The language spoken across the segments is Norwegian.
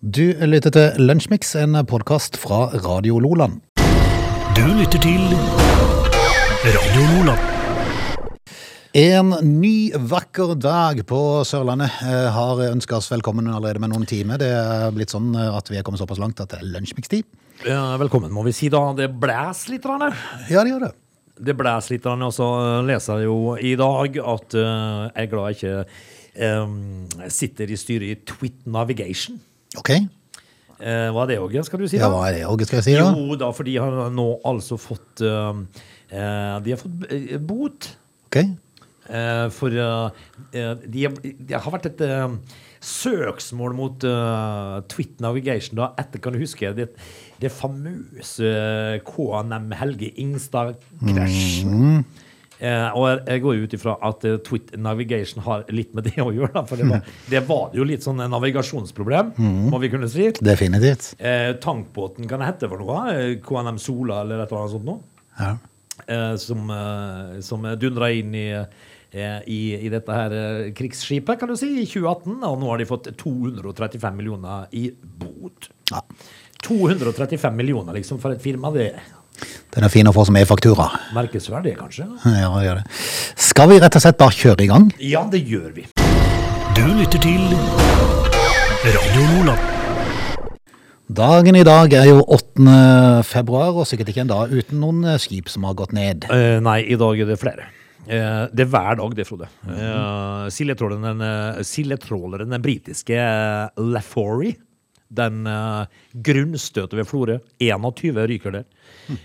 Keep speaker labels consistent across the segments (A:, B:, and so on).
A: Du lytter til Lunsjmix, en podkast fra Radio Loland.
B: Du lytter til Radio Lola.
A: En ny, vakker dag på Sørlandet eh, har ønska oss velkommen allerede med noen timer. Det er blitt sånn eh, at vi er kommet såpass langt at det er lunsjmikstid.
C: Ja, velkommen, må vi si da. Det blæs litt. grann.
A: Ja, det gjør det.
C: Det blæs litt, grann, og så eh, leser jeg jo i dag at eh, jeg er glad jeg ikke eh, sitter i styret i Twit Navigation.
A: Ok.
C: Eh, hva er det, Åge? Skal du si
A: Ja,
C: da?
A: hva er det, Åge, skal jeg si da?
C: Jo da, for de har nå altså fått eh, eh, De har fått eh, bot.
A: Ok.
C: Eh, for eh, eh, de, det har vært et eh, søksmål mot eh, Twit Navigation da, etter, kan du huske, det, det famøse eh, KNM Helge Ingstad-krasj. Eh, og jeg- jeg går jo ut ifra at eh, Twit Navigation har litt med det å gjøre. Da, for det var, det var jo litt sånn eh, navigasjonsproblem, må vi kunne si.
A: Definitivt.
C: Eh, tankbåten, kan det hette for noe? Eh, KNM Sola eller et eller annet sånt noe?
A: Ja.
C: eh, som, eh, som dundra inn i, eh, i, i dette her eh, krigsskipet, kan du si, i 2018. Og nå har de fått 235 millioner i bot.
A: ja.
C: 235 millioner, liksom, for et firma. Det
A: Den er fin å få som e-faktura.
C: merkes vel, det, kanskje?
A: Ja, det gjør det. Skal vi rett og slett bare kjøre i gang?
C: Ja, det gjør vi.
B: Du lytter til Radio Lola.
A: Dagen i dag er jo 8. februar, og sikkert ikke en dag uten noen eh, skip som har gått ned.
C: Eh, nei, i dag er det flere. Eh, det er hver dag, det, Frode. Eh, Sildetråleren, eh, sildetråleren, den britiske eh, Lafory, den eh, grunnstøtet ved Florø, 21 ryker der.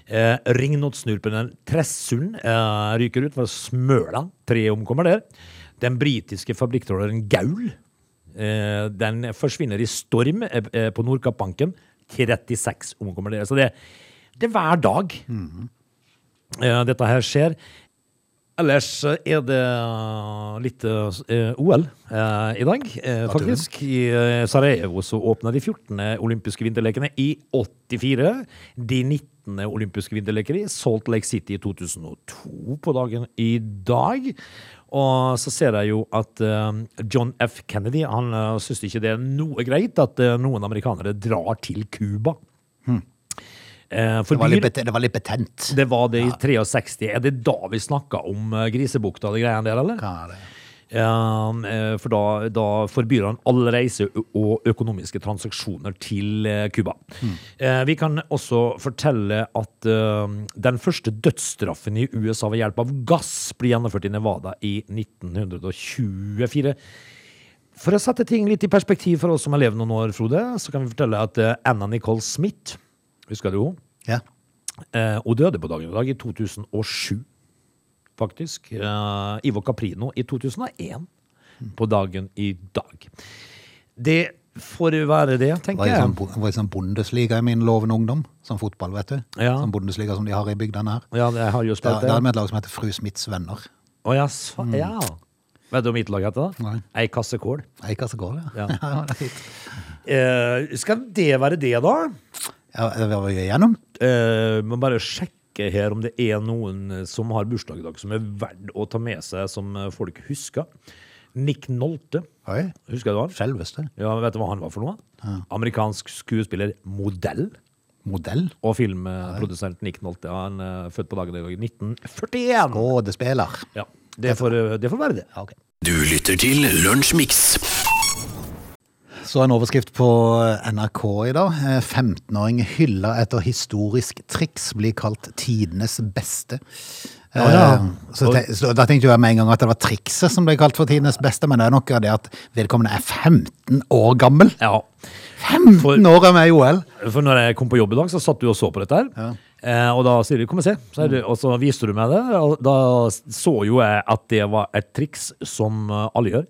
C: Eh, Ringnottsnurpen, den Tressulden, eh, ryker ut fra Smøland, tre omkommer der. Den britiske fabrikktråleren Gaul, eh, den forsvinner i storm eh, eh, på Nordkappbanken, 36 omkommer der. Så det, det er hver dag. Eh, dette her skjer. Ellers er det litt eh, OL eh, i dag, eh, faktisk. I eh, Sarajevo så åpna de 14. olympiske vinterlekene i 84. De 19. olympiske vinterleker i Salt Lake City i 2002 på dagen i dag. Og så ser jeg jo at eh, John F. Kennedy han uh, syns ikke det er noe greit at eh, noen amerikanere drar til Cuba. Eh,
A: Hm. Det var
C: fordi-
A: litt, bet- det var litt betent.
C: det var det i 63. Er det da vi snakka om eh, grisebukta og de greiene der, eller?
A: Hva er det?
C: Um, eh, for da, da forbyr han all reise ø- og økonomiske transaksjoner til eh, Cuba. Eh, vi kan også fortelle at eh, den første dødsstraffen i USA ved hjelp av gass blir gjennomført i Nevada i 1924. For å sette ting litt i perspektiv for oss som har levd noen år, Frode, så kan vi fortelle at eh, Anna Nicole Smith, husker du henne?
A: Ja.
C: Eh, og døde på dagen i dag i 2007, faktisk. Eh, Ivo Caprino i 2001, på dagen i dag. Det får være det,
A: Var
C: tenker
A: i
C: jeg.
A: sånn, bo- var i sånn Bundesliga i min lovende ungdom, som fotball, vet du.
C: Ja.
A: Sånn Bundesliga som de har i bygdene her.
C: Ja, jeg har jo
A: Der,
C: spilt
A: der
C: det. Mm.
A: hadde vi et lag som heter Fru Smiths venner.
C: Å, ja, så, ja. Vet du hva mitt lag heter? da?
A: Nei.
C: Ei kasse kål.
A: Nei, hva som går, ja.
C: Ja.
A: ja. det er fint.
C: Eh, skal det være det, da?
A: Ja, det var vi igjennom.
C: Eh, må bare sjekke her om det er noen som har bursdag i dag som er verdt å ta med seg, som eh, folk husker. Nick Nolte.
A: Oi,
C: Husker du han?
A: selveste.
C: Ja, men Vet du hva han var for noe? Amerikansk skuespiller, modell
A: Modell.
C: og filmprodusent Nick Nolte. Han er født på dagen i dag, 1941.
A: Rådespiller.
C: Ja, det får, det får være det.
A: Ja, ok.
B: Du lytter til Lunsjmix.
A: Så en overskrift på NRK i dag. Eh, 15-åring hylla etter historisk triks blir kalt tidenes beste.
C: Ja, ja.
A: Eh, Så, te, så da tenkte jeg med en gang at det var trikset som ble kalt for tidenes beste, men det er nok av det at vedkommende er 15 år gammel.
C: Ja,
A: 15
C: For-
A: år er med i OL!
C: For når jeg kom på jobb i dag, så satt du og så på dette her. Eh, og da sier du 'kom og se', så er
A: Mm.
C: det, og så viste du meg det. Og da så jo jeg at det var et triks som eh, alle gjør.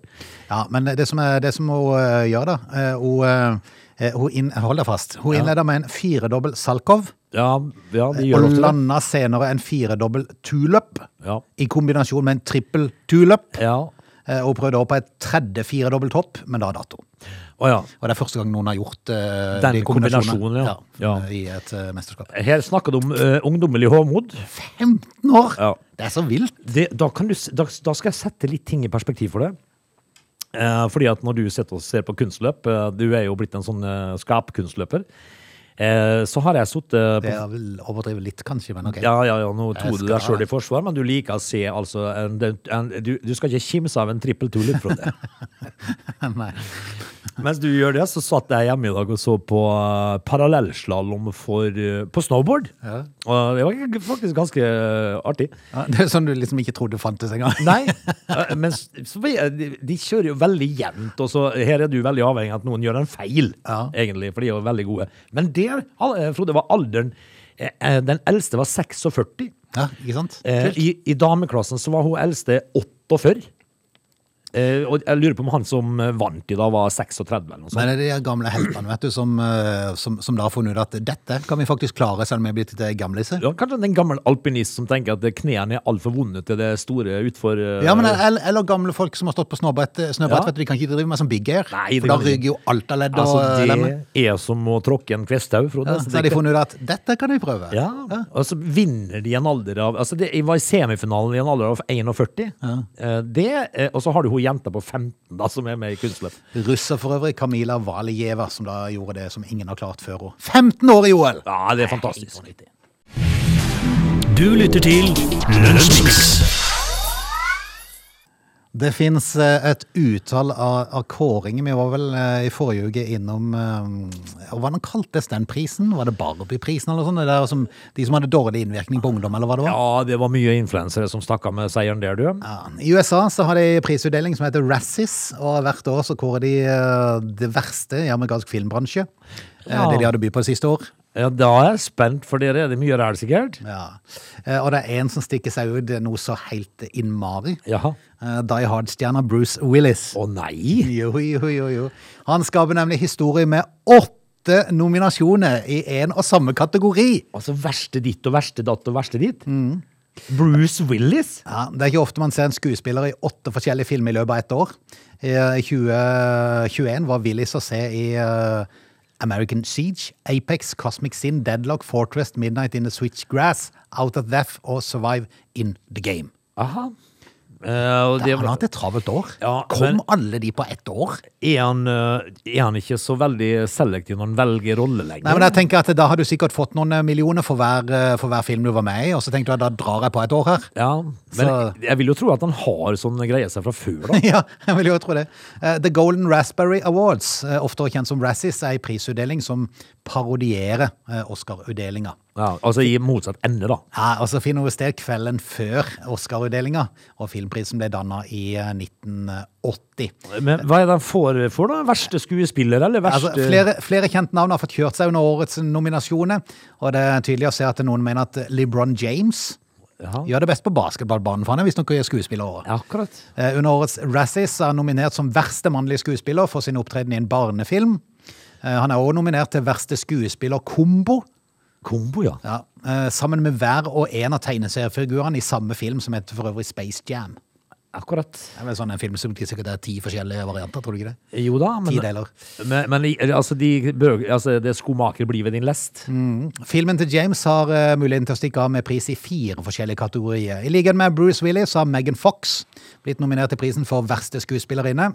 A: Ja, men det som, er, det som hun eh, gjør da, eh, hun, eh, hun inn, hold deg fast, hun innleder med en firedobbel Salkov,
C: Ja, ja de gjør
A: og
C: ofte det.
A: lander senere en firedobbel Tulip,
C: Ja.
A: i kombinasjon med en trippel Tulip,
C: Ja.
A: eh, og prøvde også på et tredje firedobbelt hopp, men da dato.
C: Å ja.
A: Og det er første gang noen har gjort eh,
C: Den
A: de kombinasjonene
C: kombinasjonen, ja. Ja.
A: i et eh, mesterskap.
C: Her snakker du om eh, ungdommelig hovmod.
A: 15 år!
C: Ja.
A: Det er så vilt.
C: det, da, kan du, s- da, da skal jeg sette litt ting i perspektiv for deg. Eh, fordi at når du sitter og ser på kunstløp, eh, du er jo blitt en sånn eh, skapkunstløper, eh, så har jeg sittet på
A: Det er vel overdrevet litt, kanskje, men ok.
C: ja, ja, ja, nå
A: Jeg
C: tror du
A: skal-
C: deg sjøl i forsvar, men du liker å se altså en, en, du, du skal ikke kimse av en trippel tullet, Frode.
A: Nei.
C: Mens du gjør det, så satt jeg hjemme i dag og så på uh, parallellslalåm for, eh, på snowboard.
A: Ja.
C: Og det var faktisk ganske eh, artig.
A: Ja, Det er sånn du liksom ikke trodde fantes engang.
C: Nei, eh, men s- så, vi- eh, de, de kjører jo veldig jevnt, og så her er du veldig avhengig av at noen gjør en feil,
A: Ja.
C: egentlig, for de er jo veldig gode. Men der, al- eh, Frode, var alderen eh, eh, Den eldste var 46.
A: Ja, ikke sant?
C: Eh, i, I dameklassen så var hun eldste 48. Eh, og jeg lurer på om han som eh, vant i dag, var 36 eller noe sånt.
A: Men det er de her gamle heltene, vet du, som, eh, som, som da har funnet ut at dette kan vi faktisk klare, selv om vi er blitt eh, gamliser.
C: Ja, kanskje en gammel alpinist som tenker at eh, knærne er altfor vonde til det store utfor eh,
A: Ja, men eller, eller gamle folk som har stått på snøbrett, eh, snøbrett
C: Ja.
A: vet du, de kan ikke drive med som big air.
C: Nei, det
A: for da
C: kan de ikke.
A: ryker jo alt av ledd
C: altså,
A: og
C: Det
A: lemmer.
C: er som å tråkke en kvesthaug, Frode.
A: eh, Ja,
C: så
A: så
C: det
A: har de
C: kan-
A: funnet ut at dette kan vi prøve.
C: ja, og så vinner de i en alder av altså det, Jeg var i semifinalen i en alder av 41. Eh, Det, eh, og så har du hun jenta på 15 da, som er med i kunstløp.
A: Russer for øvrig, Kamila Valjeva, som da gjorde det som ingen har klart før henne. 15 år i OL!
C: Ja, det er fantastisk.
B: Du lytter til Lunsjmix.
A: Det fins et utall av, av kåringer. Vi var vel eh, i forrige uke innom eh, Hva den kaltes den prisen? Var det Barbie-prisen eller noe sånt? Det der som, de som hadde dårlig innvirkning på ungdom, eller hva det var?
C: Ja, det var mye influensere som stakk av med seieren der, du.
A: Ja. I USA så har de prisutdeling som heter Razzies, og hvert år så kårer de eh, det verste i amerikansk filmbransje. eh,
C: Ja.
A: Det de hadde by på det siste år.
C: Ja, da er jeg spent, for dere er det mye ræl, sikkert.
A: Ja. Eh, Og det er en som stikker seg ut eh, noe så helt innmari.
C: Jaha.
A: Eh, Die Hard-stjerna Bruce Willis.
C: Å nei!
A: Jo, jo, jo, jo. Han skaper nemlig historie med åtte nominasjoner i én og samme kategori.
C: Altså verste ditt og verste datt og verste ditt.
A: Mm.
C: Bruce Willis?
A: Ja, det er ikke ofte man ser en skuespiller i åtte forskjellige filmer i løpet av ett år. I eh, 2021 var Willis å se i eh, American Siege, Apex, Cosmic Sin, Deadlock, Fortress, Midnight in the Switchgrass, Out of Death og Survive in the Game.
C: Aha. Eh, og det,
A: Han har hatt et travelt år.
C: Ja,
A: Kom
C: men-
A: alle de på ett år?
C: er, han, eh, er han ikke så veldig selektiv når han velger rolle lenger?
A: Nei, men jeg tenker at Da har du sikkert fått noen eh, millioner for hver, eh, for hver film du var med i, og så tenkte du at da drar jeg på et år her.
C: ja, men
A: Så-
C: jeg vil jo tro at han har sånne greier seg fra før, da.
A: Ja, jeg vil jo tro det. Eh, The Golden Raspberry Awards, eh, oftere kjent som Razzies, er en prisutdeling som parodierer eh, Oscar-utdelinga.
C: Ja, altså i motsatt ende, da.
A: Ja, altså finner hun sted kvelden før Oscar-utdelinga, og filmprisen ble danna i eh, 1980.
C: Men hva er det han får for, da? Verste skuespiller, eller verste
A: Altså, flere, flere kjente navn har fått kjørt seg under årets nominasjoner, og det er tydelig å se at noen mener at LeBron James
C: Ja.
A: gjør det best på basketballbanen, for han er visstnok skuespiller.
C: Ja, Akkurat.
A: Eh, Under årets Razzies er han nominert som verste mannlige skuespiller for sin opptreden i en barnefilm. Eh, Han er også nominert til verste skuespiller-kombo,
C: Kombo, ja.
A: ja, eh, sammen med hver og en av tegneseriefigurene i samme film, som heter for øvrig Space Jam.
C: Akkurat.
A: Det er vel sånn en film som sikkert er ti forskjellige varianter, tror du ikke det?
C: Jo da, men
A: Ti deler.
C: Men, men i- altså, de bøker, altså, det skomaker blir ved din lest.
A: Mm. Filmen til James har eh, muligheten til å stikke av med pris i fire forskjellige kategorier. I likhet med Bruce Willis har Megan Fox blitt nominert til prisen for verste skuespillerinne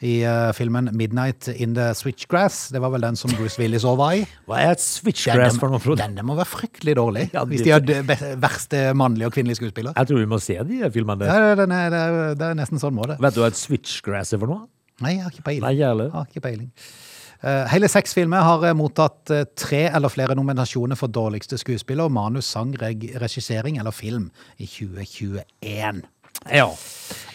A: i eh, filmen 'Midnight in the Switchgrass'. Det var vel den som Bruce Willis også var i.
C: Hva er et switchgrass for noe, Frode?
A: denne må være fryktelig dårlig,
C: Ja,
A: hvis
C: det-
A: de hadde be- verste mannlige og kvinnelige skuespiller.
C: Jeg tror vi må se de filmene
A: Ja,
C: der.
A: det- den er, det er- det er nesten sånn må det.
C: Vet du hva et switchgrass er for noe?
A: Nei, jeg har ikke peiling.
C: Nei, jeg heller.
A: Har ikke peiling. Eh, hele seks filmer har eh, mottatt eh, tre eller flere nominasjoner for dårligste skuespiller, manus, sang, reg regissering eller film i 2021.
C: Ja.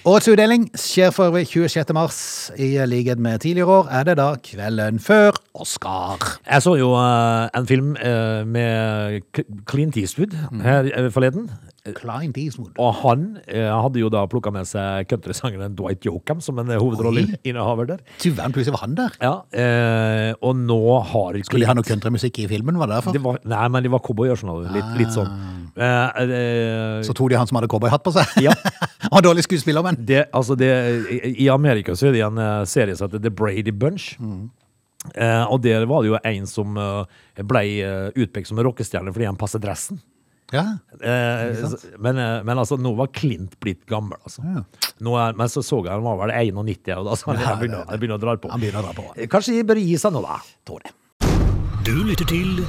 A: Årets utdeling skjer for øvrig 26. mars. I likhet med tidligere år er det da kvelden før Oscar.
C: Jeg så jo eh, en film eh, med K- Clint Eastwood
A: Mm.
C: her eh, forleden.
A: Client Eastwood.
C: Og han eh, hadde jo da plukka med seg countrysangeren Dwight Yoakam som en eh, hovedrolleinnehaver der.
A: Du verden, plutselig var han der.
C: Ja, eh, og nå har
A: Skulle de ha noe countrymusikk i filmen? Var det derfor?
C: Det var, nei, men de var cowboyer, skjønner du. Litt, litt sånn. Eh, eh,
A: Ah. Så tok de han som hadde cowboyhatt på seg.
C: Ja.
A: Han var dårlig skuespiller, men.
C: det, altså det, I i Amerika så er det en eh, serie som heter The Brady Bunch.
A: Mm.
C: Eh, og der var det jo en som eh, ble eh, utpekt som en rockestjerne fordi han passet dressen.
A: Ja.
C: Eh, men, eh, men altså, nå var Klint blitt gammel, altså. Nå er, men så så jeg han var vel 91, og da så han, jeg begynner, jeg begynner å dra på.
A: Han begynner å dra på.
C: Eh, Kanskje de bør gi seg nå, da.
A: Tror det.
B: Du lytter til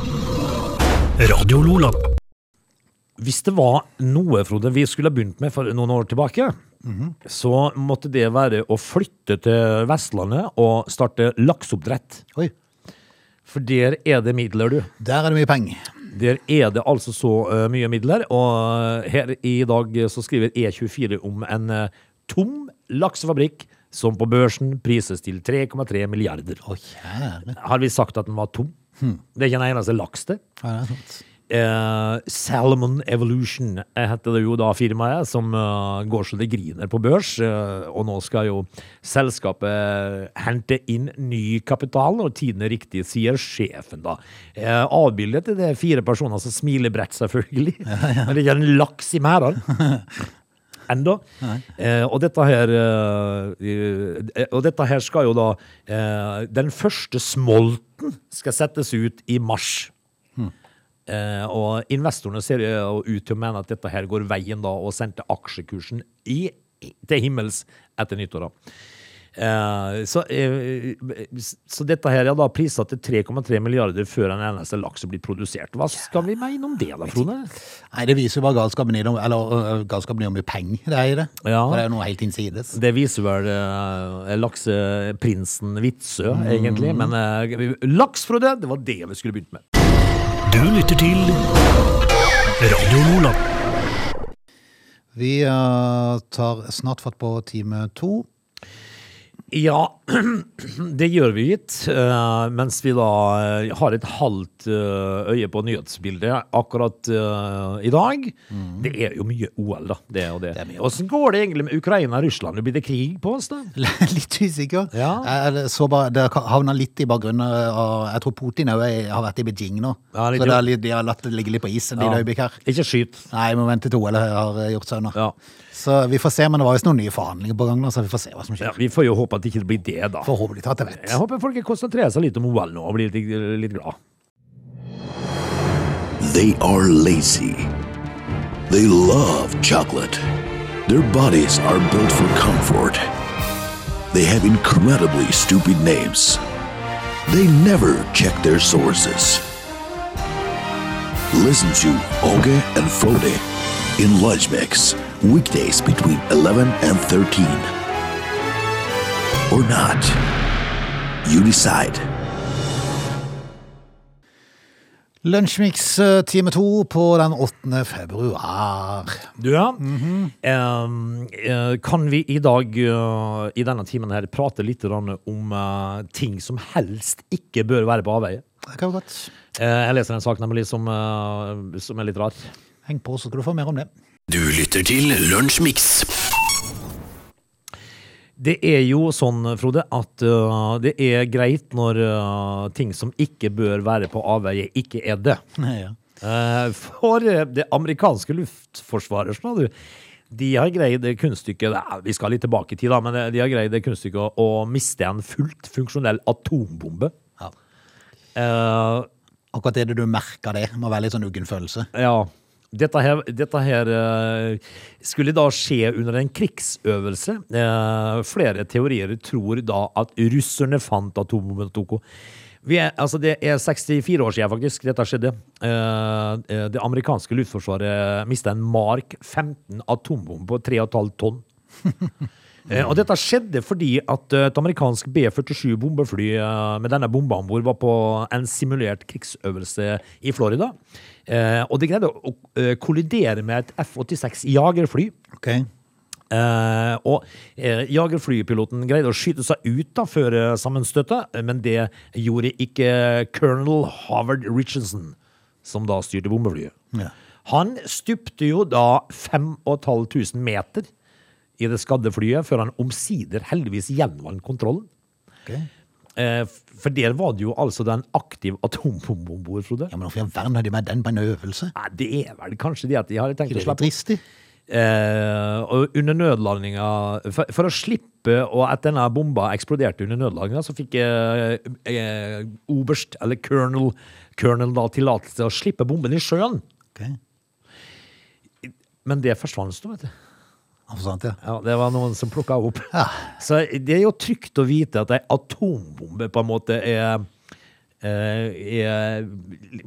B: Radio Lola.
C: Hvis det var noe, Frode, vi skulle ha begynt med for noen år tilbake,
A: Mhm.
C: så måtte det være å flytte til Vestlandet og starte lakseoppdrett.
A: Oi.
C: For der er det midler, du.
A: Der er det mye penger.
C: Der er det altså så eh, mye midler, og her i dag eh, så skriver E24 om en eh, tom laksefabrikk som på børsen prises til 3,3 milliarder.
A: Å, kjære.
C: Har vi sagt at den var tom? Det er ikke en eneste laks der.
A: Ja, det er sant.
C: Eh, Salmon Evolution eh, heter det jo da firmaet, som eh, går så det griner på børs. eh, og nå skal jo selskapet eh, hente inn ny kapital, og tiden er riktig, sier sjefen da. Eh, avbildet er det fire personer som smiler bredt, selvfølgelig. Men det er ikke en laks i merdene. Enda. Eh, og, dette her, eh, eh, og dette her skal jo da eh, Den første smolten skal settes ut i mars. Eh, og investorene ser jo ut til å mene at dette her går veien da, og sendte aksjekursen i, til himmels etter nyttår. da. Eh, så, eh, så dette her er da priset til 3,3 milliarder før en eneste laks er blitt produsert. Hva skal vi mene om det da, Frode?
A: Nei, det viser jo bare galskapen i det, eller øh, galskapen i hvor mye penger det er i det.
C: Ja.
A: For det er jo noe helt innsides.
C: Det viser vel eh, lakseprinsen Vitsø, egentlig. Men eh, laks, Frode, det var det vi skulle begynt med.
B: Du lytter til Radio Lola.
A: Vi øh, tar snart fatt på time to.
C: Ja, det gjør vi gitt. eh, Mens vi da eh, har et halvt eh, øye på nyhetsbildet akkurat eh, i dag. Det er jo mye OL, da. Det og det.
A: Mm. er mye
C: Åssen går det egentlig med Ukraina og Russland? Blir det krig på oss, da?
A: Litt usikker.
C: Ja.
A: Jeg så bare, det havna litt i bakgrunnen. Og jeg tror Putin også er- har vært i Beijing nå.
C: Ja, litt
A: så
C: jo.
A: det er litt, de har latt det ligge litt på is en liten øyeblikk her.
C: Ikke skyt.
A: Nei, vi må vente til OL har eh, gjort seg unna.
C: Ja.
A: Så vi får se, men det var visst noen nye forhandlinger på gang, nå, så vi får se hva som
C: Ja,
A: skjer.
C: vi får jo håpe at det ikke blir det, da.
A: Forhåpentlig at jeg vet.
C: Jeg håper folk konsentrerer seg litt om OL nå og blir litt, litt glad.
D: They are lazy. They love chocolate. Their bodies are built for comfort. They have incredibly stupid names. They never check their sources. Listen to Oge and Frode in Lunch Mix, weekdays between 11 and 13. Or not. You decide.
A: Lunsjmix eh, time to på den 8. februar.
C: Du, ja. Ehm, eh, kan vi i dag, eh, i denne timen her, prate litt grann om eh, ting som helst ikke bør være på avveie?
A: Det kan være godt.
C: Eh, jeg leser en sak nemlig som, eh, som er litt rar.
A: Heng på, så skal du få mer om det.
D: Du lytter til Lunsjmix.
C: Det er jo sånn, Frode, at eh, det er greit når eh, ting som ikke bør være på avveie, ikke er det.
A: Ja.
C: Eh, For eh, det amerikanske luftforsvaret sånn, du, de har greid det kunststykket Nei, Vi skal litt tilbake i tid, da, men eh, de har greid det kunststykket å- å miste en fullt funksjonell atombombe.
A: Ja.
C: Eh,
A: Akkurat det du merker det, må være litt sånn uggen følelse.
C: ja. Dette her, dette her eh, skulle da skje under en krigsøvelse. Eh, flere teorier tror da at russerne fant atombomben. Toko. Vi er, altså det er 64 år siden faktisk dette skjedde. Eh, eh, det amerikanske luftforsvaret mista en Mark 15 atombombe på 3,5 tonn. Eh, Og dette skjedde fordi at eh, et amerikansk B-47 bombefly eh, med denne bomba om bord var på en simulert krigsøvelse i Florida. Eh, Og de greide å eh, kollidere med et F-86 jagerfly.
A: Ok.
C: Eh, og eh, jagerflypiloten greide å skyte seg ut da før eh, sammenstøtet, eh, men det gjorde ikke colonel Howard Richardson, som da styrte bombeflyet.
A: Ja.
C: Han stupte jo da 5500 meter i det skadde flyet, før han omsider heldigvis gjenvant kontrollen.
A: ok. Ja,
C: Eh, f- for der var det jo altså den aktiv atombombe om bord, Frode.
A: men hvorfor i all verden har de med den på en øvelse?
C: Nei, det er vel kanskje det at de har tenkt
A: Ikke
C: å
A: det litt
C: slippe
A: dristig?
C: Eh, og under nødlandinga for, for å slippe og at denne bomba eksploderte under nødlandinga, så fikk eh, eh, oberst, eller colonel, colonel da tillatelse til å slippe bomben i sjøen.
A: Ok.
C: Men det forsvant nå, vet du.
A: Han forsvant, ja.
C: Ja, det var noen som plukka opp. Så det er jo trygt å vite at ei atombombe på en måte er, eh, er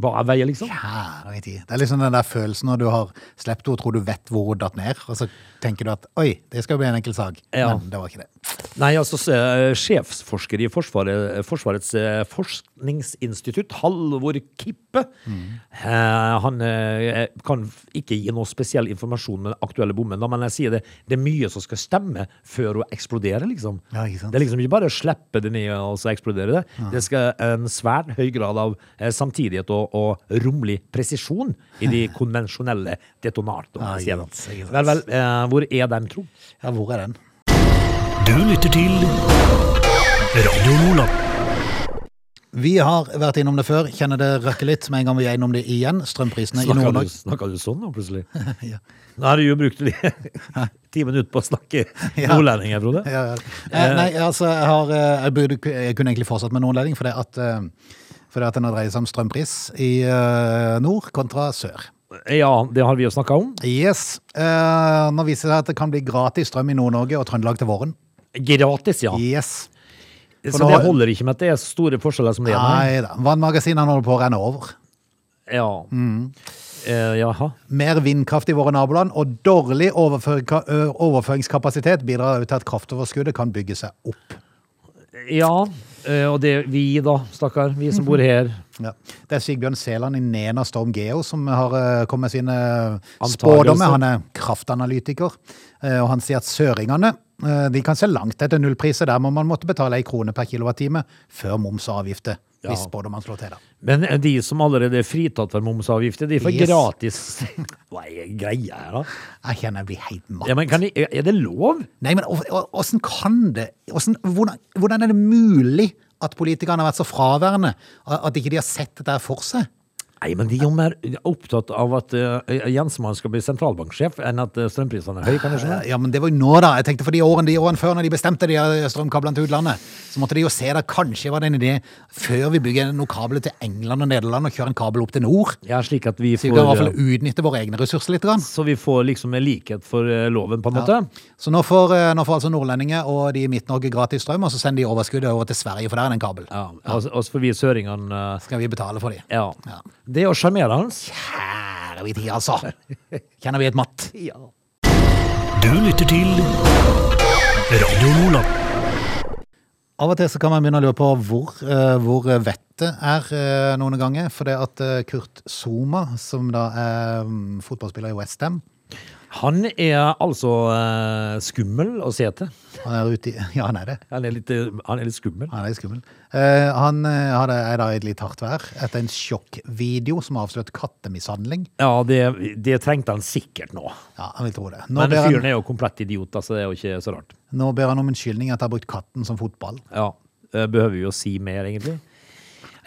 C: Hva er veien, liksom?
A: Kjære tid. Det er liksom den der følelsen når du har sluppet henne og tror du vet hvor hun datt ned, og så tenker du at oi, det skal jo bli en enkel sak.
C: Ja.
A: Men det var ikke det.
C: Nei, altså, s- eh, sjefsforsker i Forsvaret, Forsvarets eh, forskningsinstitutt, Halvor Kippe,
A: Mm.
C: eh, han eh, kan f- ikke gi noe spesiell informasjon med den aktuelle bommen, da, men jeg sier det, det er mye som skal stemme før hun eksploderer, liksom.
A: Ja, ikke sant?
C: Det er liksom ikke bare å slippe det ned og så eksplodere det. Det skal en svært høy grad av eh, samtidighet og, og rommelig presisjon i de konvensjonelle
A: Ja,
C: detonatorene.
A: ikke
C: sier han.
A: sant, ikke sant.
C: Vel, vel, eh, hvor er den, tro?
A: Ja, hvor er den?
B: Du lytter til Radio Lola.
A: Vi har vært innom det før, kjenner det røkker litt med en gang vi er innom det igjen. Strømprisene i
C: Snakker du,
A: Nord-Norge.
C: snakker du sånn nå, plutselig?
A: Ja.
C: Nå har du jo brukt de ti minutter på å snakke
A: Ja.
C: nordlending her, Frode.
A: Ja, ja. Eh, nei, altså, jeg, har, eh, jeg, burde, jeg kunne egentlig fortsatt med nordlending, for det at, eh, for det at den har dreid seg om strømpris i eh, nord kontra sør.
C: Ja, det har vi jo snakka om.
A: Yes. Eh, nå viser det seg at det kan bli gratis strøm i Nord-Norge og Trøndelag til våren.
C: Gratis, ja.
A: Yes.
C: Så
A: nå
C: det
A: har-
C: holder ikke med at det er store forskjeller som det er. nei.
A: Nei da. Vannmagasinene holder på å renne over.
C: Ja.
A: Mm.
C: Eh, jaha.
A: Mer vindkraft i våre naboland og dårlig overførka- ø, overføringskapasitet bidrar også til at kraftoverskuddet kan bygge seg opp.
C: Ja. eh, og det vi, da, stakkar. Vi som
A: Mhm.
C: bor her.
A: Ja. Det er Sigbjørn Sæland i Nena Storm Geo som har ø, kommet med sine eh,
C: Antagelser.
A: spådommer. Han er kraftanalytiker, ø, og han sier at søringene ø, de kan se langt etter nullpriser der må man måtte betale ei krone per kilowattime før moms og avgifter.
C: Ja.
A: Hvis spådommene slår til, da.
C: Men de som allerede er fritatt for momsavgifter, de får
A: Yes.
C: gratis Hva er greia her, da?
A: Jeg kjenner jeg blir helt matt.
C: Ja, men kan de, er det lov?
A: Nei, men å- å- åssen kan det Åssen- hvordan, hvordan er det mulig at politikerne har vært så fraværende? a- At ikke de har sett dette her for seg?
C: Nei, men de er jo mer opptatt av at eh, Jensmann skal bli sentralbanksjef, enn at eh, strømprisene er høye. kan du skjønne?
A: Ja, men det var jo nå, da. Jeg tenkte for de årene, de årene før, når de bestemte de her strømkablene til utlandet, så måtte de jo se det. Kanskje var det en idé før vi bygger noen kabler til England og Nederland og kjører en kabel opp til nord.
C: Ja, slik at vi
A: Så vi kan i hvert
C: får, eh,
A: fall utnytte våre egne ressurser litt. Grann.
C: så vi får liksom en likhet for eh, loven, på en måte.
A: Så nå får, eh, nå får altså nordlendinger og de i Midt-Norge gratis strøm, og så sender de overskuddet over til Sverige, for der er det en kabel.
C: Ja, altså, altså for vi søringene eh,
A: Skal vi betale for de?
C: ja.
A: Ja.
C: Det er jo sjarmerende.
A: Kjære vi tid, altså. Kjenner vi et matt?
C: Ja.
B: Du lytter til Radio Lola.
A: Av og til så kan man begynne å lure på hvor, eh, hvor vettet er eh, noen ganger. For det at eh, Kurt Zuma, som da er mm, fotballspiller i Westham
C: Han er altså eh, skummel å se til.
A: Han er ute i Ja, han er det.
C: Han er litt, eh, han er litt skummel.
A: Han er litt skummel. Eh, han eh, hadde, er da i et litt hardt vær etter en sjokkvideo som avslørte kattemishandling.
C: Ja, det, det trengte han sikkert nå.
A: Ja, han vil tro det. Nå
C: Men
A: ber
C: fyren
A: han,
C: er jo komplett idiot, altså det er jo ikke så rart.
A: nå ber han om unnskyldning etter å ha brukt katten som fotball.
C: Ja, eh, behøver vi å si mer egentlig?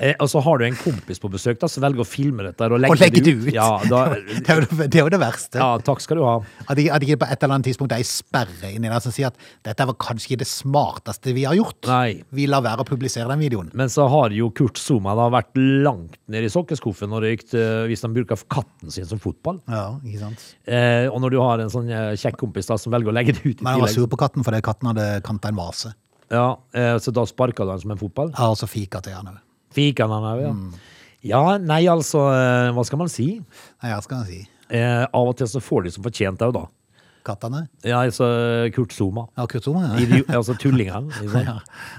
C: Eh, og så har du en kompis på besøk da, som velger å filme dette her og legge,
A: Og legge det ut!
C: Ja,
A: det,
C: da,
A: er jo det, det er jo det verste.
C: ja, takk skal du ha.
A: At ikke, at ikke på et eller annet tidspunkt er ei sperre inni der som sier at dette var kanskje ikke det smarteste vi har gjort.
C: Nei.
A: Vi lar være å publisere den videoen.
C: Men så har jo Kurt Zuma da vært langt ned i sokkeskuffen når det gikk til- hvis han bruker katten sin som fotball.
A: Ja, ikke sant?
C: Eh, og når du har en sånn eh, kjekk kompis da som velger å legge det ut i
A: Men han var
C: tillegg.
A: sur på katten fordi katten hadde kanta en vase.
C: Ja, eh, så da sparker du han som en fotball.
A: Ja, Og så fika til han òg.
C: Fiker han her, ja.
A: Mm.
C: Ja, nei altså, eh, hva skal man si?
A: Nei, hva skal jeg si?
C: Eh, av og til så får de som fortjent det jo da.
A: Kattene?
C: Ja, altså Kurt Zuma.
A: Ja, Kurt Zomer, ja.
C: Idiot, altså tullingen. Liksom.
A: Ja,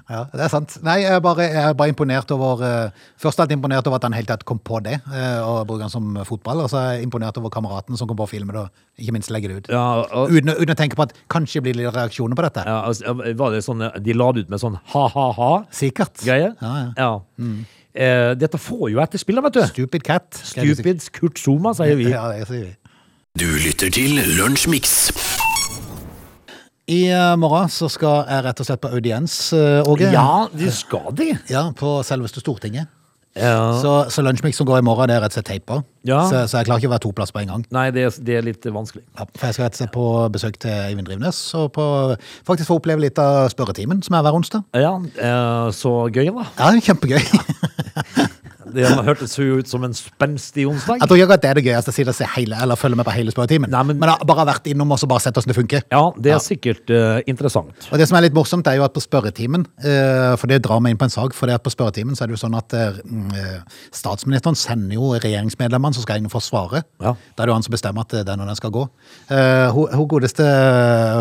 A: ja, det er sant. Nei, jeg er bare, jeg er bare imponert over eh, Først alt imponert over at han helt tatt kom på det, eh, og bruker den som fotball. Og så er jeg imponert over kameraten som kom på å filme det, og ikke minst legge det ut.
C: Ja, og,
A: Uten, å- uten å tenke på at kanskje blir det litt reaksjoner på dette.
C: ja, altså, var det sånn, de la det ut med sånn ha-ha-ha-greie?
A: Sikkert. Ja, Mm. ja.
C: Eh, dette får jo etterspill, da, vet du.
A: Stupid cat. skal jeg si.
C: Stupid Kurt Zuma, sier vi.
A: Ja, det sier vi.
B: Du lytter til Lunsjmix.
A: I eh, morgen så skal jeg rett og slett på audiens, eh, Åge.
C: Ja, du skal det.
A: Ja, på selveste Stortinget.
C: Ja.
A: Så, så lunsjmix som går i morgen, det er rett og slett teipa.
C: Ja.
A: Så, så jeg klarer ikke å være to plass på en gang.
C: Nei, det, er- det er litt vanskelig.
A: Ja, for jeg skal rett og slett på besøk til Eivind Drivnes, og på, faktisk få oppleve litt av spørretimen, som er hver onsdag.
C: Ja, eh, så gøy, da.
A: Ja, det er kjempegøy.
C: Det hørtes jo ut som en spenstig onsdag.
A: Jeg tror ikke at det er det gøyeste å si det, å se hele, eller følge med på hele spørretimen.
C: Nei,
A: Men,
C: men-
A: men jeg har bare vært innom og så bare sett hvordan det funker.
C: Ja, det er sikkert eh, interessant.
A: Og det som er litt morsomt, er jo at på spørretimen eh, For det drar meg inn på en sak, for det at på spørretimen så er det jo sånn at eh, mm, eh, statsministeren sender jo regjeringsmedlemmene som skal inn for å svare.
C: Ja.
A: Da er det jo han som bestemmer at eh, den og den skal gå. Eh, hun, hun godeste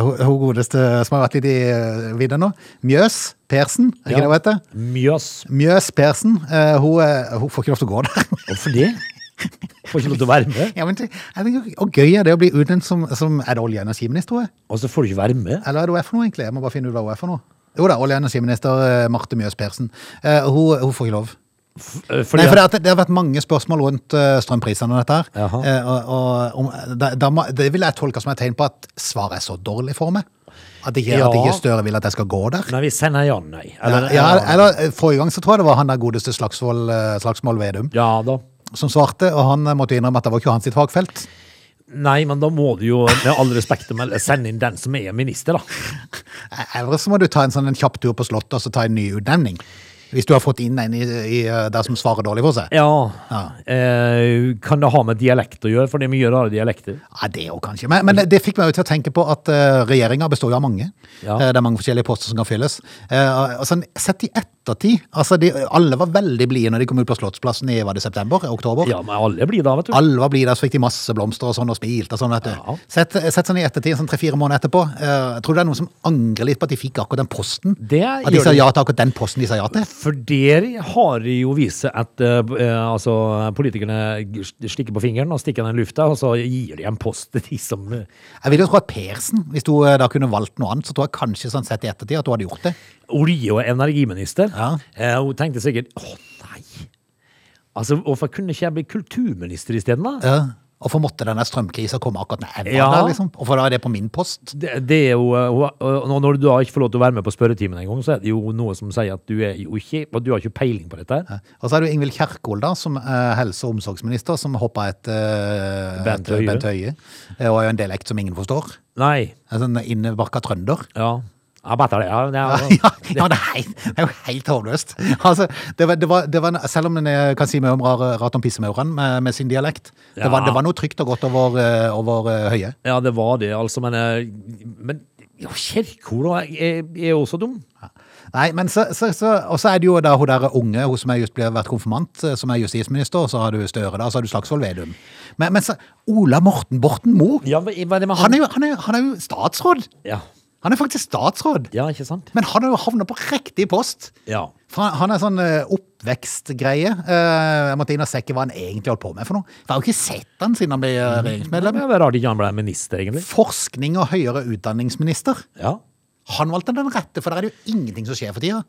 A: hun, hun godeste som har vært litt i eh, vidda nå, Mjøs Persen, er ikke
C: Ja.
A: det hun heter?
C: Mjøs.
A: Mjøs Persen, eh, hun, eh, hun får ikke lov til å gå der.
C: Hvorfor det? Får ikke lov til å være med.
A: Ja, men det- jeg tenker, Og gøy er det å bli utnevnt som, som Er det olje- og energiminister hun er?
C: Og så får du ikke være med.
A: Eller er det hun er for noe, egentlig? Jeg må bare finne ut hva hun er for noe. Jo da, olje- og energiminister eh, Marte Mjøs Persen. Eh, hun, hun får ikke lov.
C: Eh,
A: Nei,
C: Fordi
A: for det, at det- det har vært mange spørsmål rundt eh, strømprisene og dette her.
C: Jaha.
A: Eh, og, og, om, da, da, må- det vil jeg tolke som et tegn på at svaret er så dårlig for meg. At ikke, at
C: Ja.
A: ikke Støre vil at jeg skal gå der.
C: Nei, vi sender ja, nei.
A: Ja,
C: Eller,
A: eller, eh, Forrige gang så tror jeg det var han der godeste Slagsvold, eh, Slagsvold Vedum
C: ja da.
A: som svarte, og han eh, måtte jo innrømme at det var ikke hans sitt fagfelt.
C: Nei, men da må du jo med all respekt å melde, sende inn den som er minister, da.
A: Eller så må du ta en sånn en kjapp tur på slottet og så ta en ny utnevning. Hvis du har fått inn en i, i, eh, der som svarer dårlig for seg.
C: Ja.
A: Ja.
C: Eh, kan det ha med dialekt å gjøre? For det er mye rare dialekter.
A: Ja, det òg, kanskje. Men, men det fikk meg jo til å tenke på at uh, regjeringa består jo av mange.
C: Ja.
A: Eh, det er mange forskjellige poster som kan fylles. Eh, og sånn, sett i ettertid altså de, Alle var veldig blide når de kom ut på Slottsplassen i var det september? Oktober?
C: Ja, men alle blir da, vet du.
A: Alle var blide, der, så fikk de masse blomster og sånn og spilt og sånn. vet du.
C: Ja.
A: Sett, sett sånn i ettertid, sånn tre-fire måneder etterpå, eh, tror du det er noen som angrer litt på at de fikk akkurat den posten?
C: Det
A: At de
C: gjør
A: sa
C: de.
A: ja til akkurat den posten de sa ja til?
C: For der har det jo vist seg at eh, b- eh, altså, politikerne g- slikker på fingeren og stikker den i lufta, og så gir de en post til de som eh,
A: Jeg vil jo tro at Persen, hvis du eh, da kunne valgt noe annet, så tror jeg kanskje sånn sett i ettertid at du hadde gjort det.
C: olje- og energiminister.
A: Ja.
C: Eh, hun tenkte sikkert å nei. Altså, Hvorfor kunne ikke jeg bli kulturminister isteden, da?
A: Ja. Hvorfor måtte denne strømkrisa komme akkurat når jeg var
C: Ja.
A: der? liksom? Hvorfor da er det på min post?
C: Det, det er jo, eh, hun- og når- Når du da ikke får lov til å være med på spørretimen engang, så er det jo noe som sier at du, er jo ikke, og du har ikke peiling på dette. her.
A: Og så er det jo Ingvild Kjerkol, da, som er helse- og omsorgsminister, som hoppa etter
C: Bent
A: etter
C: Høie.
A: Bent Høie. Eh, Og er jo en dialekt som ingen forstår.
C: Nei.
A: En sånn innebakka trønder.
C: Ja. Jeg better det. Ja,
A: Ja,
C: det er-
A: ja, ja, det, er helt, det er jo helt håpløst. Altså, det var, det var, det var, en- selv om en eh, kan si mye om rar- rart om pissemaurene med, med sin dialekt, det, var,
C: Ja.
A: det var noe trygt og godt over, eh, over eh, Høie.
C: ja, det var det, altså. Men, eh, men ja, Kjerkol da, er er jo også dum.
A: Nei, men så, så, så, og så er det jo da hun der unge, hun som er just ble vært konfirmant, eh, som er justisminister, og så har du Støre da, og så har du Slagsvold Vedum. Men, men så, Ola Morten Borten Moe,
C: Ja, men hva er det med
A: han er, jo, han, er, han er jo statsråd.
C: Ja,
A: Han er faktisk statsråd.
C: ja ikke sant?
A: Men han har jo havnet på riktig post.
C: Ja.
A: For han- han er sånn eh, oppvekstgreie. Eh, Jeg måtte inn og sjekke hva han egentlig holdt på med for noe. For jeg har jo ikke sett han siden han ble eh,
C: Det
A: regjeringsmedlem.
C: er rart ikke han ble minister, egentlig.
A: Forskning og høyere utdanningsminister.
C: Ja.
A: Han valgte den rette, for der er det jo ingenting som skjer for tida.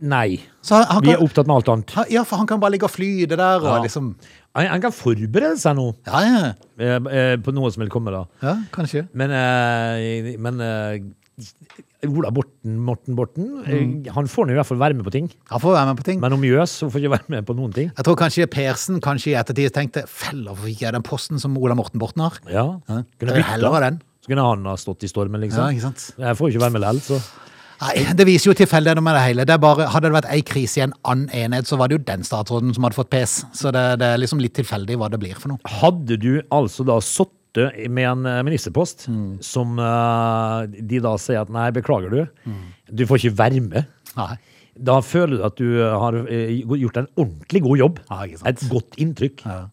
C: Nei.
A: Så han, han
C: Vi er
A: kan,
C: opptatt med alt annet.
A: han, ja, for han kan bare ligge og flyte der og
C: Ja.
A: liksom
C: Han, han kan forberede seg nå
A: Ja, ja.
C: eh, eh, på noe som vil komme, da.
A: ja kanskje.
C: Men, eh, men eh, Ola Borten, Morten Borten, eh,
A: Mm.
C: han får nå i hvert fall være med på ting.
A: Han får være med på ting.
C: Men om Jøs, hun får ikke være med på noen ting.
A: Jeg tror kanskje Persen kanskje i ettertid tenkte Feller, hvorfor fikk jeg den posten som Ola Morten Borten har?
C: Ja.
A: Ja.
C: Kunne
A: Det er
C: bytte.
A: heller av den.
C: Så kunne han ha stått i stormen,
A: Ja,
C: liksom.
A: ikke sant?
C: Jeg får jo ikke være med likevel, så
A: Nei, Det viser jo tilfeldigheter med det hele. Det er bare, hadde det vært ei krise i en annen enhet, så var det jo den statsråden som hadde fått pes. Så det, det er liksom litt tilfeldig hva det blir for noe.
C: Hadde du altså da sittet med en eh, ministerpost
A: Mm.
C: som eh, de da sier at nei, beklager du,
A: Mm.
C: du får ikke være med.
A: Nei.
C: Da føler du at du har eh, gjort en ordentlig god jobb.
A: Ja, ikke sant.
C: Et godt inntrykk.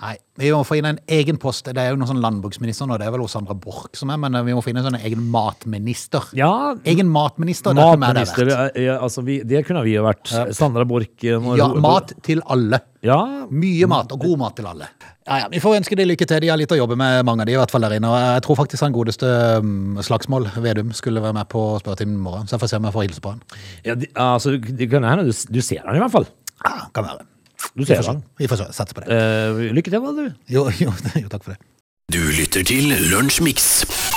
A: Nei, Vi må få inn en egen post. Det er jo noen sånn landbruksminister nå, det er vel hos Sandra Borch som er, men vi må finne en sånn egen matminister.
C: Ja,
A: Egen matminister. det kunne jeg
C: Matminister,
A: vært.
C: eh, eh, altså vi, det kunne vi jo vært. Sandra Borch. eh, når
A: Ja,
C: hun-
A: mat til alle.
C: Ja,
A: Mye mat, og god mat til alle. Ja, ja, Vi får ønske de lykke til. De har litt å jobbe med, mange av de i hvert fall der inne. Og jeg tror faktisk han godeste mm, Slagsmål, Vedum, skulle være med på spørretimen i morgen. Så jeg får se om jeg får hilse på han.
C: ja de, altså, det kan hende du, du ser han i hvert fall.
A: Ja, kan være.
C: Du
A: Vi
C: ser
A: får, se.
C: han.
A: vi får se. satse på det.
C: Eh, lykke til, da, du.
A: Jo, jo, jo, takk for det.
B: Du lytter til Lunsjmix.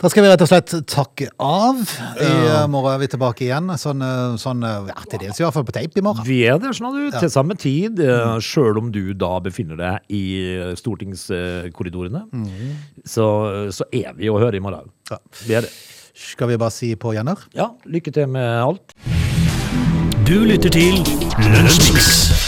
A: Da skal vi rett og slett takke av. I eh, morgen er vi tilbake igjen. Sånn, eh, sånn eh, ja, til dels i hvert fall på tape i morgen.
C: Vi er der sånn, du, til samme tid,
A: Mm.
C: eh, sjøl om du da befinner deg i eh, stortingskorridorene.
A: Mm.
C: Så, så er vi å høre i morgen.
A: Ja.
C: Vi er det.
A: Skal vi bare si på gjenhør?
C: Ja, lykke til med alt.
B: Du lytter til Lunsjmix.